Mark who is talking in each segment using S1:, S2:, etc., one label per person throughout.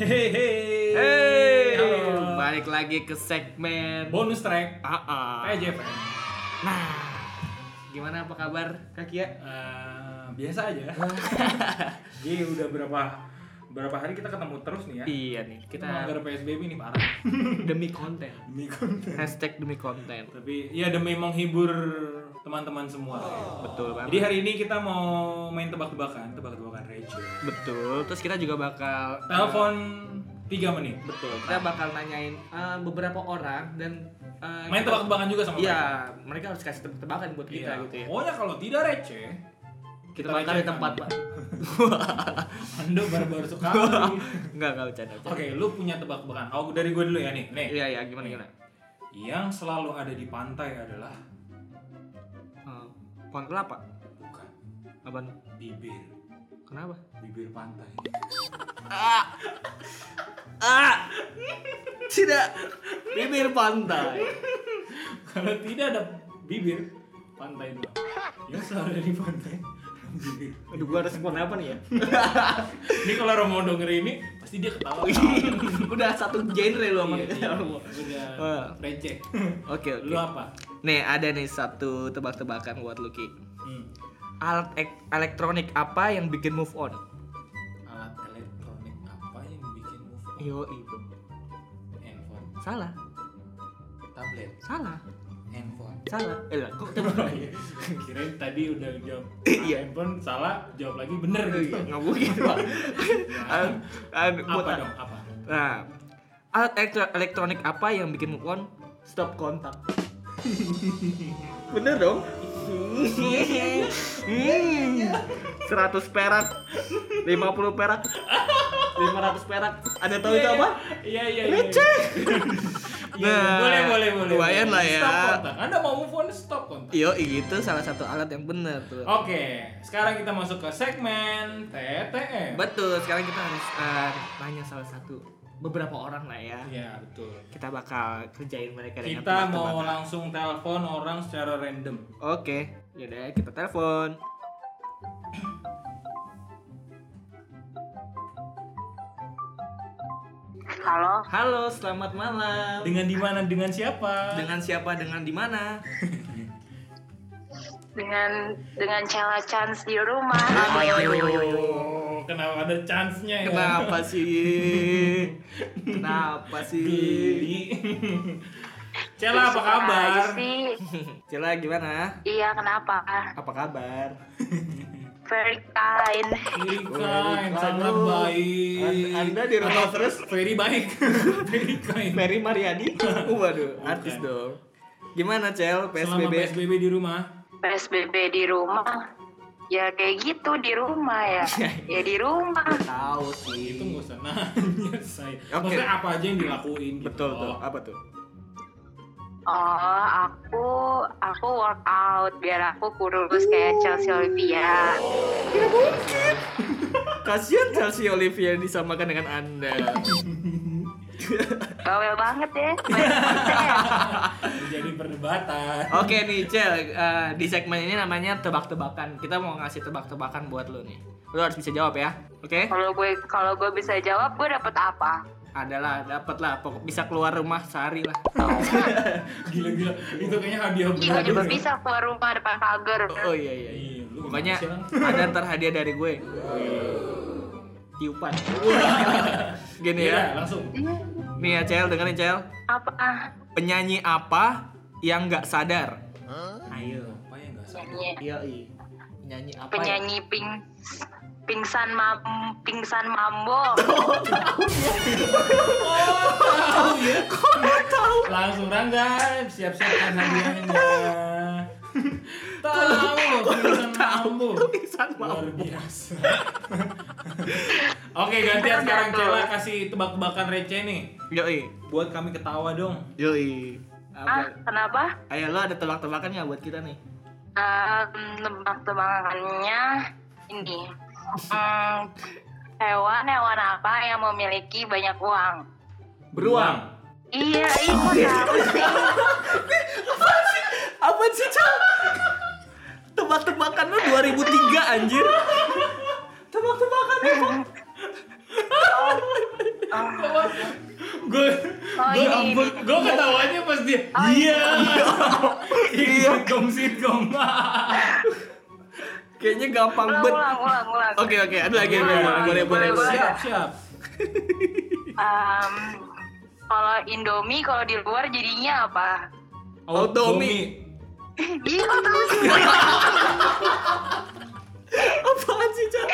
S1: Hehehe.
S2: Hey,
S1: Halo.
S2: balik lagi ke segmen
S1: Bonus track. ya,
S2: AA.
S1: PJP.
S2: Nah, gimana apa kabar Kak Kia?
S1: Eh, biasa aja. Jadi udah berapa berapa hari kita ketemu terus nih ya.
S2: Iya nih,
S1: Kita
S2: kita
S1: melanggar PSBB nih parah.
S2: demi konten.
S1: Demi konten.
S2: Hashtag demi konten.
S1: Tapi ya demi menghibur teman-teman semua. ya.
S2: Betul
S1: Jadi
S2: banget.
S1: hari ini kita mau main tebak-tebakan, tebak-tebakan Rachel.
S2: Betul. Terus kita juga bakal
S1: Telepon 3 menit.
S2: Betul. Kita bakal nanyain eh, beberapa orang dan eh,
S1: Main
S2: kita-
S1: tebak-tebakan juga sama
S2: Iya, mereka harus kasih tebak-tebakan buat
S1: mereka.
S2: kita
S1: Iya.
S2: gitu ya.
S1: Pokoknya kalau tidak receh,
S2: Kita bakal di
S1: recehkan.
S2: tempat, Pak.
S1: Anda baru-baru sekali.
S2: Enggak, enggak bercanda. bercanda.
S1: Oke, lu punya tebak-tebakan. Oh, dari gue dulu ya nih. Nih.
S2: Iya, iya, gimana gimana?
S1: Yang selalu ada di pantai adalah
S2: Eh, pohon kelapa.
S1: bukan
S2: Apaan?
S1: bibir,
S2: Kenapa?
S1: bibir pantai.
S2: Ah! Tidak. Bibir pantai.
S1: Kalau tidak ada bibir, pantai doang. Yang selalu ada di pantai bibir.
S2: Aduh, gua respon apa nih ya?
S1: Ini kalau Romo denger ini pasti dia ketawa.
S2: Oh, Iya, Udah satu genre lu sama
S1: Iya, iya,
S2: kita. Romo.
S1: Udah
S2: Eh.
S1: receh.
S2: Oke, oke.
S1: Lu apa?
S2: Nih, ada nih satu tebak-tebakan buat lu, Ki.
S1: Hmm,
S2: Alat ek- elektronik apa yang bikin move on?
S1: alat elektronik apa yang bikin move on?
S2: Yo, ibu.
S1: Handphone,
S2: Salah.
S1: tablet,
S2: Salah.
S1: handphone.
S2: Salah. Eh, lah, kok tebak?
S1: Gitu. Kirain tadi udah jawab "Ah,
S2: Iya.
S1: handphone salah, jawab lagi bener gitu.
S2: Nggak mungkin, Pak. An- an-
S1: Apa
S2: buat-
S1: dong? Apa?
S2: Nah, alat elektro- elektronik apa yang bikin move on? Stop kontak. Bener dong? 100 Hmm, perak, 50 perak, 500 perak. Ada tahu itu apa?
S1: Iya iya iya.
S2: Receh.
S1: Iya, iya.
S2: Nah,
S1: boleh boleh boleh.
S2: lumayan
S1: boleh.
S2: lah ya.
S1: Stop kontak. Anda mau move on stop kontak.
S2: Yo, itu salah satu alat yang bener tuh.
S1: Oke, sekarang kita masuk ke segmen TTM.
S2: Betul, sekarang kita harus eh, tanya salah satu beberapa orang lah ya.
S1: Iya, betul.
S2: Kita bakal kerjain mereka dengan
S1: Kita mau
S2: tebak-tebakan.
S1: langsung telepon orang secara random.
S2: Oke, yaudah kita telepon.
S3: Halo,
S2: Halo, selamat malam.
S1: Dengan di mana? Dengan siapa?
S2: Dengan siapa? Dengan di mana?
S3: dengan dengan Cela Chance di rumah.
S2: Aduh,
S1: Oh, kenapa ada chance-nya ya?
S2: kenapa sih? Kenapa sih?
S1: Geli. Cela apa kabar?
S3: Aja sih.
S2: Cila gimana?
S3: Iya, kenapa? Ah,
S2: Apa kabar?
S3: Very kind.
S1: Very kind,
S2: Very
S1: sangat
S2: kind.
S1: baik.
S2: An- Anda di rumah
S1: Atau
S2: terus?
S1: Very baik. Very kind.
S2: Ferry Mariadi? Uh, Waduh, artis dong. Gimana Cel?
S1: Selama
S2: PSBB?
S1: PSBB di rumah.
S3: PSBB di rumah. Ya kayak gitu di rumah ya. Ya di rumah.
S2: Tahu
S1: Itu
S2: sih.
S1: nggak usah nanya saya.
S2: Oke.
S1: Maksudnya apa aja yang dilakuin gitu.
S2: Betul tuh.
S1: loh.
S2: Apa tuh?
S3: Oh, aku aku workout biar aku kurus kayak Chelsea Olivia.
S2: Kasihan Chelsea Olivia disamakan dengan Anda.
S3: Bawel banget ya. Banyak banget ya.
S1: Jadi perdebatan.
S2: Oke nih Cel, eh, di segmen ini namanya tebak-tebakan. Kita mau ngasih tebak-tebakan buat lo nih. Lo harus bisa jawab ya, oke?
S3: Kalau gue kalau gue bisa jawab, gue dapet apa?
S2: Adalah, dapat lah. Pokok bisa keluar rumah sehari lah.
S1: Gila-gila. Itu kayaknya hadiah
S3: Ih, gue juga
S1: berat.
S3: bisa keluar rumah depan pagar.
S2: Oh, oh, iya iya. iya.
S1: Iya, lu
S2: Pokoknya
S1: gimana sih, Lang?
S2: ada ntar hadiah dari gue. Tiupan. Gini
S1: Iya,
S2: ya.
S1: langsung.
S2: Nih ya Cel, dengerin Cel.
S3: Hmm, Apa? ah?
S2: Penyanyi apa yang nggak sadar? Ayo.
S1: Apa yang nggak salah?
S3: Nyanyi.
S2: Iya iya. Penyanyi apa? ya?
S3: penyanyi ping pingsan mam pingsan mambo
S1: Langsung Rangga, siap-siapkan hadiahnya. tahu, tulisan mampu.
S2: Tulisan
S1: Luar biasa. Oke, gantian sekarang Cela kasih tebak-tebakan receh nih.
S2: Yoi.
S1: Buat kami ketawa dong.
S2: Yoi.
S3: ah
S2: Apa?
S3: kenapa
S2: Ayo lo ada tebak-tebakan nggak buat kita nih?
S3: Ah, tebak tebakannya ini Hmm, hewan hewan apa yang memiliki banyak uang
S2: Beruang.
S3: iya iya tahu sih
S2: Apa sih Cal? Tebak-tebakan lo 2003 anjir. Tebak-tebakan lo.
S1: Gue
S3: ini,
S1: ampun,
S3: ini.
S1: gue ketawanya pas dia. Iya. Iya, sitcom sitcom.
S2: Kayaknya gampang
S3: Ulang,
S2: bet.
S3: ulang, ulang, ulang.
S2: Oke oke, ada lagi
S3: Ulang,
S2: boleh
S3: ulang.
S2: boleh boleh.
S3: Boleh,
S2: boleh.
S1: Siap, siap.
S3: Em, kalau Indomie kalau di luar jadinya apa?
S2: Automi.
S3: Ih, kok tahu sih?
S2: Iya. Apaan sih Cak?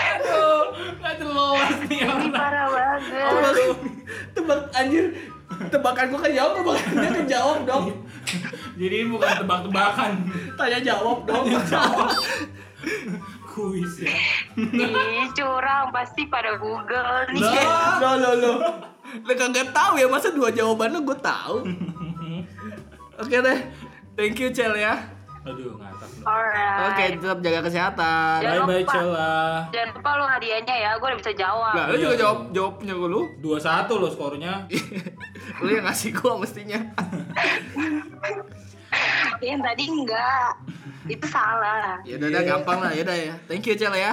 S1: Aduh, nggak jelas nih
S3: Ini
S1: orang.
S3: parah banget.
S2: Tebak- Tebak anjir. Tebakan gua kejawab, tebakan dia kejawab dong.
S1: Jadi ini bukan tebak-tebakan,
S2: Tanya jawab dong.
S1: kuis ya.
S3: Ih, curang pasti pada Google nih.
S2: Nah.
S1: Lah.
S2: Lo lo lo. Lo kagak tahu ya masa dua jawaban lo gua tahu. Oke deh. Thank you Cel ya.
S1: Aduh, ngakak.
S3: Alright.
S2: Oke, tetap jaga kesehatan.
S1: Bye bye
S3: lupa.
S1: Cela.
S3: Jangan lupa lu hadiahnya ya, gue udah bisa jawab.
S2: Lah, lo juga jawab jawab punya gua lu.
S1: Dua satu loh skornya.
S2: lu yang ngasih gua mestinya.
S3: Yang tadi enggak. Itu salah.
S2: Ya udah udah, gampang lah, ya udah ya. Thank you Cel ya.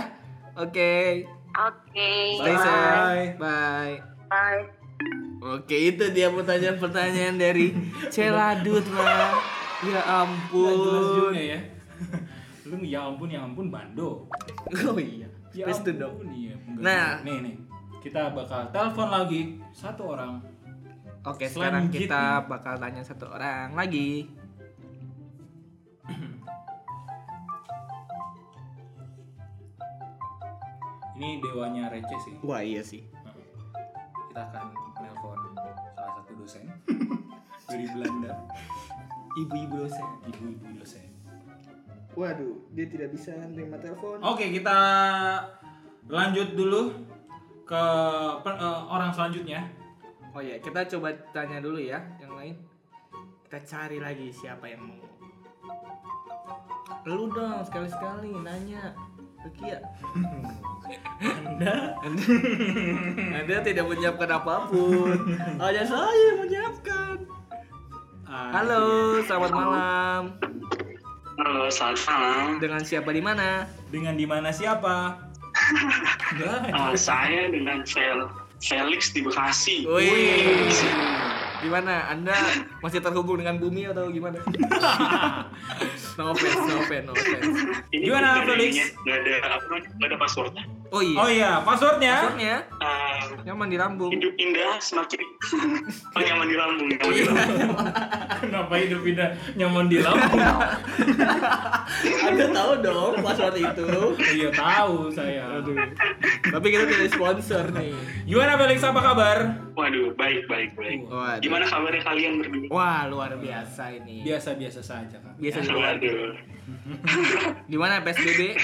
S2: Oke.
S3: Oke.
S2: Stay
S1: Bye.
S2: safe. Bye.
S3: Bye.
S2: Oke itu dia pertanyaan-pertanyaan dari Celadut lah Ya
S1: Nggak jelas
S2: ampun
S1: juga ya. Lu ya ampun ya ampun bando.
S2: Oh iya
S1: Ya
S2: Space tuh dong
S1: ampun, iya. Enggak,
S2: Nah.
S1: enggak. nih nih. Kita bakal telepon lagi satu orang.
S2: Oke
S1: Selanjutnya.
S2: sekarang kita bakal tanya satu orang lagi
S1: Ini dewanya receh sih.
S2: Wah iya sih
S1: Kita akan nelpon salah satu dosen dari Belanda,
S2: Ibu-ibu dosen
S1: ibu-ibu dosen.
S2: Waduh dia tidak bisa nerima telepon
S1: Oke, kita lanjut dulu ke per- eh, orang selanjutnya.
S2: Oh iya kita coba tanya dulu ya yang lain Kita cari lagi siapa yang mau Lu dong sekali-sekali nanya ya? Ke Kia
S1: Anda
S2: Anda tidak menyiapkan apapun Hanya saya yang menyiapkan
S1: Ah,
S2: Halo, selamat malam.
S4: Halo, selamat malam. Eh,
S2: Dengan siapa di mana?
S1: dengan di mana siapa? Enggak.
S4: Eh, saya dengan Fel Felix di
S2: Oh.
S4: Bekasi.
S2: Wih. Gimana? Anda masih terhubung dengan bumi atau gimana? no offense, no offense, no offense.
S1: Gimana,
S4: nggak ada
S1: Felix?
S4: ininya, Nggak ada apa? namanya, Nggak ada passwordnya.
S2: Oh iya.
S1: Oh iya, passwordnya.
S2: Maksudnya
S4: Eh,
S2: nyaman di lambung.
S4: hidup indah semakin oh, nyaman di lambung. Nyaman di lambung.
S1: Kenapa hidup pindah nyaman di lambung?
S2: Anda tahu dong password itu.
S1: Iya tahu saya.
S2: Tapi kita tidak sponsor nih.
S1: Gimana Felix apa kabar?
S4: Waduh, baik, baik, baik.
S2: Waduh.
S4: Gimana kabarnya kalian berdua?
S2: Wah, luar biasa ini.
S1: Biasa-biasa saja kan.
S2: Biasa di luar.
S4: Waduh.
S2: Gimana PSBB?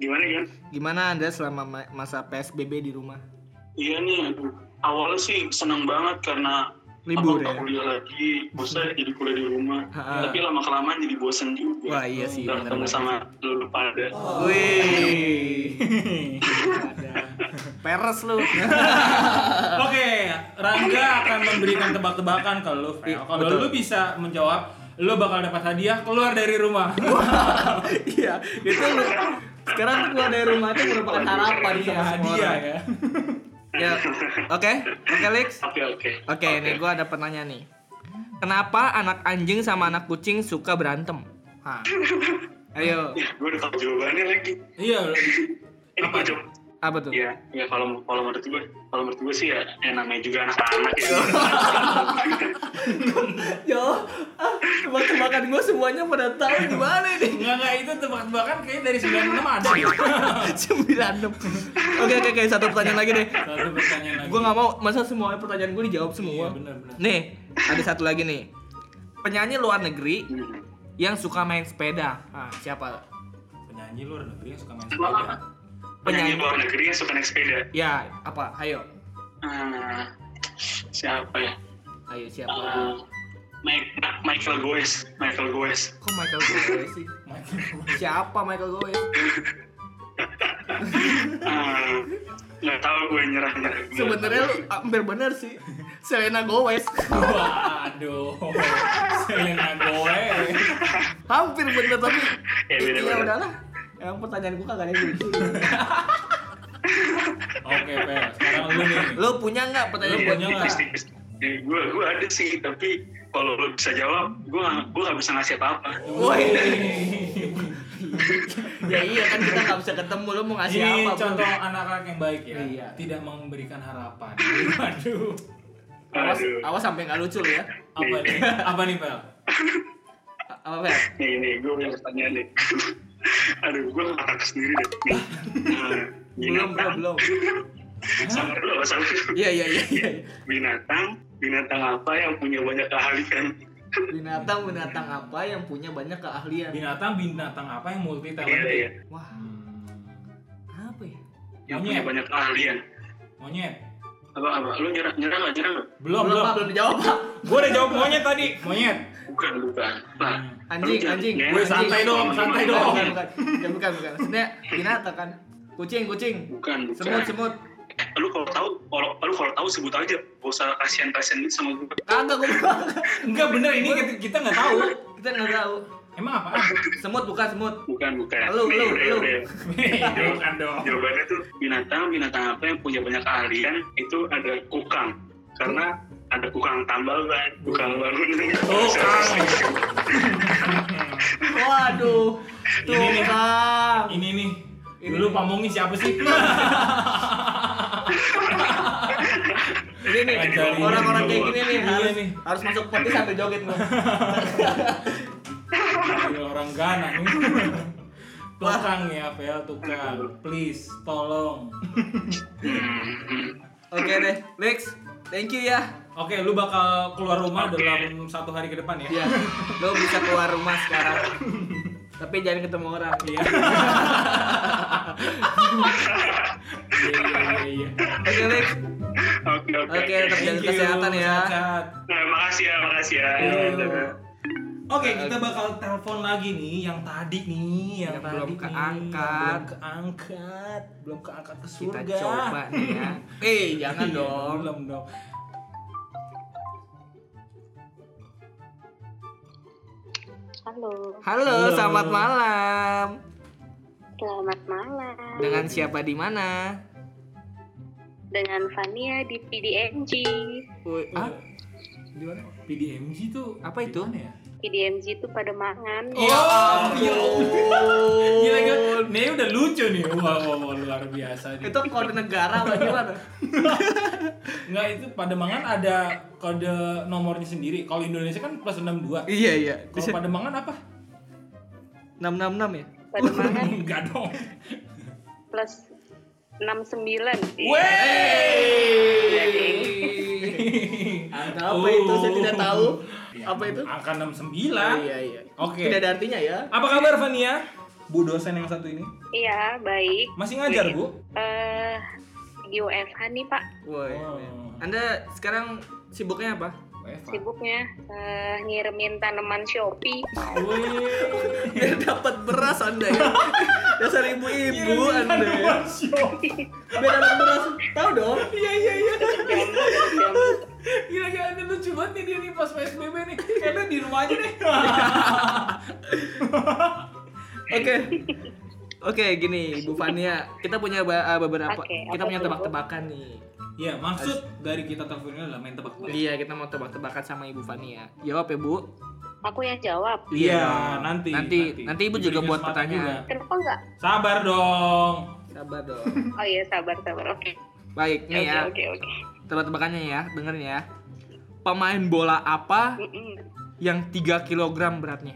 S4: Gimana ya?
S2: Gimana Anda selama ma- masa PSBB di rumah?
S4: Iya nih, aduh. awalnya sih senang banget karena
S2: Libur
S4: abang
S2: ya?
S4: nggak kuliah lagi, bosan jadi kuliah di rumah.
S2: Ha-ha.
S4: Tapi lama kelamaan jadi bosan juga.
S2: Wah, iya sih,
S4: Nggak
S2: bener
S4: ketemu
S2: banget Oh.
S4: sama lulu pada.
S2: Wih. Ada. Peres lu.
S1: Oke, Rangga akan memberikan tebak-tebakan ke lu, Fel. Kalau
S2: Iya, Betul.
S1: lu bisa menjawab, lu bakal dapat hadiah keluar dari rumah.
S2: Iya, itu lu. Sekarang keluar dari rumah itu merupakan harapan
S1: Iya,
S2: sama semua
S1: hadiah
S2: orang.
S1: ya.
S2: Ya. Oke, oke Lex.
S4: Oke, oke.
S2: Oke, nih gua ada pertanyaan nih. Kenapa anak anjing sama anak kucing suka berantem? Hah. Ayo,
S4: Ya, gue udah tau jawabannya lagi.
S1: Iya.
S4: Ini gue jawab.
S2: apa tuh?
S4: Ya, ya kalau kalau menurut gue, kalau menurut gue sih ya, ya namanya juga anak-anak ya.
S2: Yo, ah, teman-teman gua semuanya pada tahu gimana nih.
S1: Enggak enggak itu tebak-tebakan kayaknya dari 96 ada. deh.
S2: 96. Oke, oke, oke, satu pertanyaan lagi deh.
S1: Satu pertanyaan lagi.
S2: Gue nggak mau masa semua pertanyaan gue dijawab
S1: Iya,
S2: semua.
S1: benar benar.
S2: Nih, ada satu lagi nih. Penyanyi luar negeri yang suka main sepeda. Ah, siapa?
S1: Penyanyi luar negeri yang suka main sepeda.
S4: Penyanyi
S2: Penyanyi.
S4: luar negeri yang suka naik sepeda.
S2: Ya, apa? Ayo.
S4: Ah, siapa ya?
S2: Ayo siapa?
S4: Ah, Mike- Michael Goes, Michael Goes.
S2: Kok Michael Goes sih? Siapa Michael Goes?
S4: Ah, Nggak tahu gue nyerah nyerah.
S2: Sebenarnya lu hampir bener sih. Selena Gomez.
S1: Waduh. Selena Gomez.
S2: hampir bener tapi
S4: Ya, beda-beda.
S2: udahlah. Emang pertanyaan gue kagak ada yang lucu.
S1: Oke, Oke, Pel. Sekarang lu nih.
S2: Lo punya nggak pertanyaan
S1: Lu Iya,
S2: buat
S1: punya
S2: kita?
S1: nggak?
S4: Iya, tipis-tipis. Ya, gue gue ada sih tapi kalau lo bisa jawab gue nggak- gue nggak bisa ngasih apa-apa
S2: Woi. ya iya kan kita nggak bisa ketemu lo mau ngasih
S1: Ini
S2: apa? Bro?
S1: Iya, contoh anak-anak yang baik ya.
S2: Iya.
S1: Tidak memberikan harapan. Waduh.
S2: Awas,
S4: aduh
S2: awas sampai nggak lucu lo ya.
S1: Apa nih? Apa nih, Pel?
S2: A- Apa
S1: Iya.
S2: Fel?
S4: nih nih gue punya pertanyaan nih aduh gue ngakak sendiri deh nih Nah,
S2: Belum belum
S4: binatang
S2: belum.
S4: sama dulu sama dulu.
S2: Iya iya iya. iya.
S4: binatang binatang apa yang punya banyak keahlian
S2: Binatang binatang apa yang punya banyak keahlian?
S1: Binatang binatang apa yang Hmm. multi
S4: iya iya
S1: talented?
S2: Wah apa ya?
S4: yang punya banyak keahlian
S1: Monyet.
S4: apa apa lu nyerang nyerang nggak nyerang nggak?
S1: Belum,
S2: belum
S1: belum.
S2: Pak, belum dijawab Pak.
S1: Gue udah jawab monyet tadi. Monyet.
S4: bukan bukan nah,
S2: Anjing,
S4: lu jangan-
S2: anjing.
S4: jangan-
S2: Gue
S1: ya, santai dong,
S4: jangan-
S1: santai
S2: Bukan,
S1: dong.
S2: bukan, bukan. Ya, bukan, bukan. Maksudnya binatang kan. Kucing, kucing.
S4: bukan bukan
S2: Semut, semut.
S4: Eh, lu kalau tahu kalau lu kalau tahu sebut aja gak usah kasihan kasihan gitu sama gue
S2: Kagak gue bilang.
S1: Enggak bener ini kita- kita nggak tahu.
S2: Kita nggak tahu.
S1: Emang apaan?
S2: Semut bukan semut.
S4: bukan bukan
S2: Lu,
S4: Nih,
S2: lu,
S4: udah,
S2: lu.
S4: udah.
S1: Bukan dong.
S4: jawabannya tuh binatang binatang apa yang punya banyak keahlian itu ada kukang karena ada kukang tambal ban kukang bangunan
S1: Tukang.
S2: Waduh. Tuh
S1: Ini nih.
S2: Kang.
S1: Ini nih.
S2: Ini.
S1: Dulu pamongi siapa sih?
S2: Ini nih
S1: Ajarin.
S2: orang-orang kayak gini nih
S1: Iya
S2: harus,
S1: nih.
S2: harus masuk peti sambil joget gua.
S1: Gila, orang Ghana nih. Tukang ya, Pel, tukang. Please, tolong.
S2: Oke deh, next. Thank you ya.
S1: Oke, lu bakal keluar rumah
S4: Oke.
S1: dalam satu hari ke depan ya?
S2: Ya, lo bisa keluar rumah sekarang. Tapi jangan ketemu orang.
S1: Iya. Iya, iya, iya.
S2: Oke, Lex.
S4: oke oke
S2: Oke, tetap
S1: Thank
S2: jaga
S1: you,
S2: kesehatan ya.
S1: sehat-sehat.
S4: Nah, makasih ya makasih ya
S2: Iya.
S1: Yuk. Oke, kita bakal telepon lagi nih yang tadi nih, yang,
S2: Yang belum
S1: tadi nih,
S2: keangkat.
S1: belum keangkat, belum keangkat ke surga.
S2: Kita coba nih ya. Eh, jangan
S1: Iya,
S2: dong.
S1: Belum dong.
S3: Halo,
S2: Halo,
S1: Halo.
S2: selamat malam.
S3: selamat malam.
S2: Dengan siapa di mana?
S3: Dengan Fania di PDMG.
S2: Woi, ah,
S1: Di mana? PDMG tuh
S2: Apa itu? ya
S1: di mana ya?
S3: PDMG itu pada mangan.
S1: Oh, iya.
S2: ampun.
S1: Gila, gila. Nih udah lucu nih. Wah, wah, wah, luar biasa nih.
S2: Itu kode negara apa gimana?
S1: Enggak itu Pademangan ada kode nomornya sendiri. Kalau Indonesia kan plus 62.
S2: iya, iya.
S1: Kalau Pademangan apa?
S2: 666 ya?
S3: Pada mangan
S1: Enggak dong.
S3: plus 69.
S2: Wey. Angka
S1: Oh.
S2: apa itu? Saya tidak tahu.
S1: Ya,
S2: Apa itu?
S1: Angka 69.
S2: Iya, iya.
S1: Oke.
S2: Tidak ada artinya ya.
S1: Apa kabar Fania? Bu dosen yang satu ini.
S3: Iya, baik.
S1: Masih ngajar, Bu?
S3: Eh, di UFH nih, Pak.
S2: Woi.
S1: Oh.
S2: Anda sekarang sibuknya apa?
S1: Eva.
S3: Sibuknya eh, ngirimin tanaman Shopee.
S1: Wih.
S2: Biar dapat beras Anda ya. Dasar
S1: Iya,
S2: ibu-ibu Anda. ya. Biar dapat beras. Tahu dong.
S1: Iya iya iya.
S3: Jambu, jambu.
S1: Gila gila ini lucu banget nih dia nih pas PSBB nih. Kayaknya di rumah aja deh.
S2: Oke. Oke, gini Bu Fania, kita punya ba- eh, beberapa
S3: Oke,
S2: kita
S3: apa
S2: punya
S3: tuh, Bu?
S2: tebak-tebakan nih.
S1: Iya, maksud dari kita teleponnya adalah main tebak-tebakan.
S2: Iya, kita mau tebak-tebakan sama Ibu Fania. Jawab ya, Bu.
S3: Aku yang jawab.
S1: Iya, nanti,
S2: Nanti
S1: nanti.
S2: nanti Ibu juga
S1: Diberikan
S2: buat
S1: kesempatan
S2: pertanyaan.
S3: Kenapa enggak?
S1: Sabar dong.
S2: Sabar dong.
S3: Oh iya, sabar, sabar. Oke.
S2: Baik,
S3: Oke,
S2: nih ya.
S3: oke, oke.
S2: Tebak-tebakannya ya, dengerin ya. Pemain bola apa
S3: Mm-mm.
S2: yang 3 kg beratnya?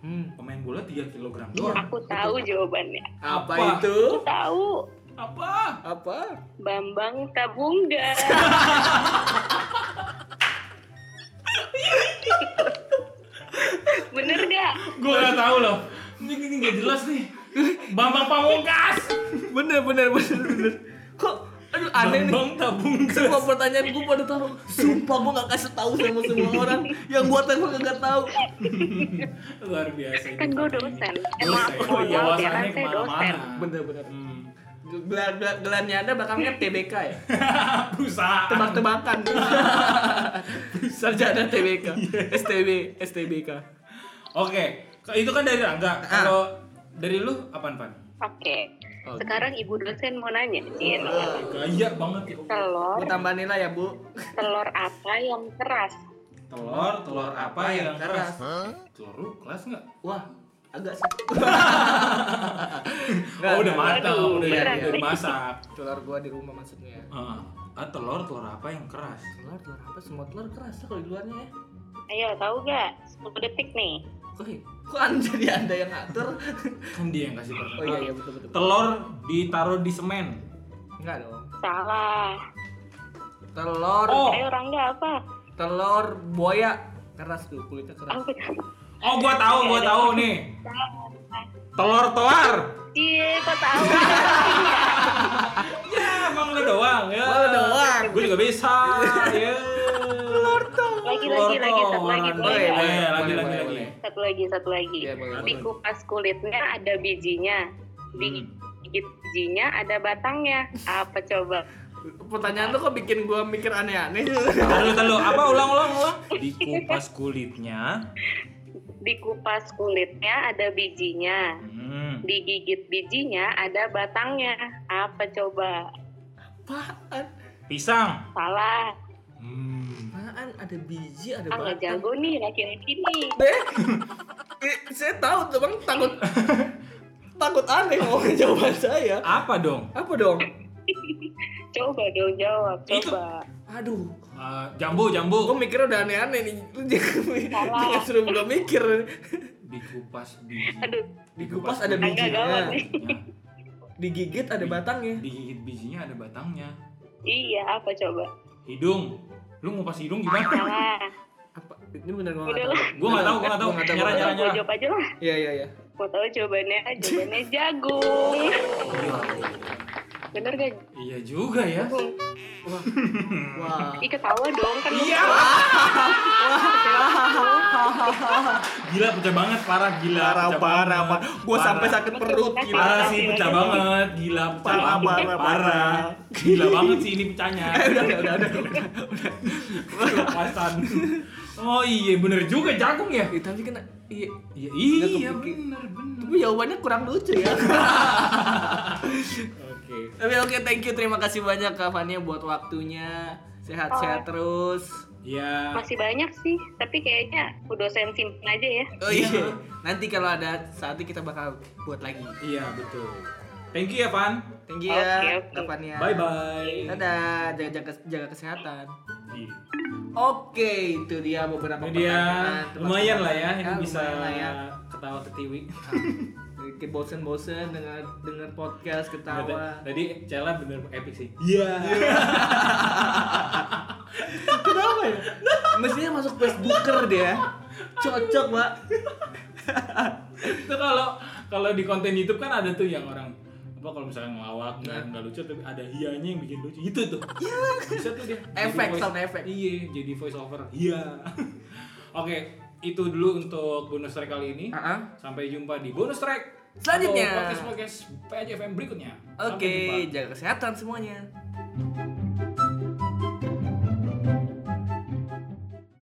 S2: Hmm,
S1: Pemain bola 3 kg doang.
S3: Aku tahu jawabannya.
S2: apa,
S1: Apa?
S2: itu?
S3: Aku tahu.
S1: Apa?
S2: Apa?
S3: Bambang Tabungga. Bener gak?
S1: Gue gak tahu loh. Ini ini gak jelas nih. Bambang Pamungkas.
S2: Bener, bener, bener, bener. Kok aduh aneh nih.
S1: Bambang Tabungkas.
S2: Semua pertanyaan gue pada tahu. Sumpah gue gak kasih tahu sama semua orang. Yang gue telepon gak tahu.
S1: Luar biasa. ini.
S3: Kan gue dosen.
S5: Eh,
S3: Emang
S1: Dosen.
S3: aku
S5: Oh,
S3: mohon
S1: Iya,
S3: maaf ya, kan
S1: wawasannya
S3: saya dosen.
S1: kemana-mana.
S2: Bener, bener.
S1: Hmm.
S2: Gelar, gelar- gelarnya anda bakangnya TBK ya?
S1: Perusahaan.
S2: Tebak-tebakan. Sarjana TBK. STB, STBK.
S1: Oke, ke- itu kan dari Rangga. Kalau Dari lu apaan, Pan? Oh,
S5: Oke.
S1: gitu.
S2: Oke.
S5: Sekarang ibu dosen mau nanya, Jin.
S1: iya. Gaya banget ya.
S5: Telur,
S2: Bu tambah nilai ya bu.
S5: telur apa yang keras?
S1: Telur, telur apa yang keras?
S2: Hah?
S1: Telur lu keras nggak?
S2: Wah, agak sih. Nggak,
S1: Oh, udah
S2: nggak.
S1: matang,
S5: Aduh,
S1: udah, udah
S2: berat nih.
S1: dimasak.
S2: Telur gua di rumah maksudnya.
S1: Heeh. Ah, telur, telur apa yang keras?
S2: Telur, telur apa? Semua telur keras ya kalau di luarnya ya.
S5: Ayo, tahu gak? 10 detik nih.
S2: Kok, ya? kok anda jadi anda yang ngatur?
S1: Kan dia yang kasih
S2: Oh iya,
S1: pertanyaan.
S2: iya betul betul.
S1: Telur ditaruh di semen.
S2: Enggak dong.
S5: Salah.
S2: Telur,
S1: Oh.
S5: Ayo, Rangga apa?
S2: telur buaya keras tuh kulitnya keras.
S5: Apa?
S1: Oh, gua tahu, gua tahu nih. Telur toar.
S5: Cie, Iya, kok tahu?
S1: Ya, emang lu doang ya.
S2: Gua doang.
S1: Gua juga bisa. Ya. Telur toar.
S5: Lagi, lagi, lagi, satu lagi,
S1: Boleh, boleh, lagi,
S5: boleh.
S2: Boleh,
S1: lagi,
S2: boleh,
S1: lagi.
S2: boleh.
S5: Satu lagi, satu lagi.
S2: Iya, boleh, Hmm. boleh.
S5: Dikupas kulitnya ada bijinya. Di gigit bijinya ada batangnya. Apa coba?
S2: Pertanyaan tuh kok bikin gua mikir aneh-aneh.
S1: Tahu, tahu. Apa ulang, ulang, ulang? Dikupas kulitnya.
S5: Dikupas kulitnya ada bijinya.
S1: Hmm.
S5: Digigit bijinya ada batangnya. Apa coba?
S2: Apaan?
S1: Pisang.
S5: Salah.
S1: Hmm.
S2: Apaan? Ada biji, ada
S5: Ah, nggak
S2: batang.
S5: jago nih laki-laki nih.
S2: Deh. Eh, saya tahu tuh bang takut takut aneh ngomong jawaban saya.
S1: Apa dong?
S2: Apa dong?
S5: Coba dong jawab.
S1: Itu-
S5: Coba.
S2: Aduh,
S1: Eh, jambu, jambu.
S2: gua mikir udah aneh-aneh nih. Lu jangan, jangan suruh gua mikir.
S1: dikupas biji
S5: Aduh,
S2: Dikupas ada
S5: Agak
S1: Ya.
S5: gawat
S2: bijinya,
S5: nih.
S1: bijinya.
S2: digigit ada batangnya.
S1: digigit bijinya ada batangnya
S5: Iya, apa coba? Nah,
S1: hidung lu ngupas hidung gimana
S5: Salah.
S2: Apa? Ini bener gua nggak
S5: Udah
S2: tahu.
S5: lah.
S1: Gua nggak tahu, gua nggak tahu.
S2: Gua nggak
S1: Nyerah,
S2: gua nggak
S1: nyerah.
S5: Gue jawab aja lah.
S2: tahu. Iya iya iya.
S5: Mau tahu jawabannya? Jawabannya jagung. Bener gak?
S1: iya juga ya
S5: Jagung.
S2: Wah.
S5: Ih ketawa dong kan
S2: Iya,
S5: lu-
S1: gila pecah banget parah gila
S2: Parah
S1: pecah
S2: parah
S1: banget.
S2: parah. Gua
S1: Parah.
S2: sampai sakit perut
S5: Makasih,
S2: gila.
S1: parah sih pecah banget gila pecah
S2: Parah,
S1: banget.
S2: parah,
S1: parah
S2: parah.
S1: gila banget sih ini pecahnya
S2: Eh, udah udah udah udah.
S1: kelepasan oh iya bener juga jagung ya
S2: Itu tapi kan iya.
S1: iya iya
S2: Nggak kepikir.
S1: bener bener
S2: Tapi jawabannya kurang lucu ya.
S1: oke
S2: Tapi oke, thank you. Terima kasih banyak Kak Fania buat waktunya. Sehat-sehat terus.
S1: ya
S5: Masih banyak sih, tapi kayaknya udah dosen simpen aja ya.
S2: Oh
S1: Iya.
S2: iya. Nanti kalau ada saatnya kita bakal buat lagi.
S1: iya betul thank you ya pan
S2: Thank you
S5: Oke,
S2: ya,
S5: oke.
S2: Kak Fania.
S1: bye bye
S2: Dadah, jaga, jaga, jaga kesehatan. Oke, itu dia beberapa
S1: Ini dia
S2: pertanyaan. Tebak-tebakan.
S1: lumayan lah ya, ini
S2: Ah,
S1: bisa
S2: lumayan lah ya.
S1: ketawa ketiwi.
S2: Sedikit bosen-bosen dengan dengan podcast ketawa.
S1: Tadi Cella bener epic sih. Iya.
S2: Kenapa ya? Mestinya masuk Facebooker dia. Cocok, Pak.
S1: Itu kalau kalau di konten YouTube kan ada tuh yang orang apa kalau misalnya ngelawak
S2: Iya.
S1: nggak nggak lucu tapi ada hianya yang bikin lucu itu tuh. Bisa tuh dia. Jadi
S2: Efek,
S1: voice-
S2: sound effect.
S1: Iya, jadi voice over. Iya. Oke, itu dulu untuk bonus track kali ini.
S2: Ah, ah.
S1: Sampai jumpa di bonus track
S2: Selanjutnya.
S1: podcast podcast PJFM berikutnya. Sampai
S2: Oke,
S1: jumpa.
S2: jaga kesehatan semuanya.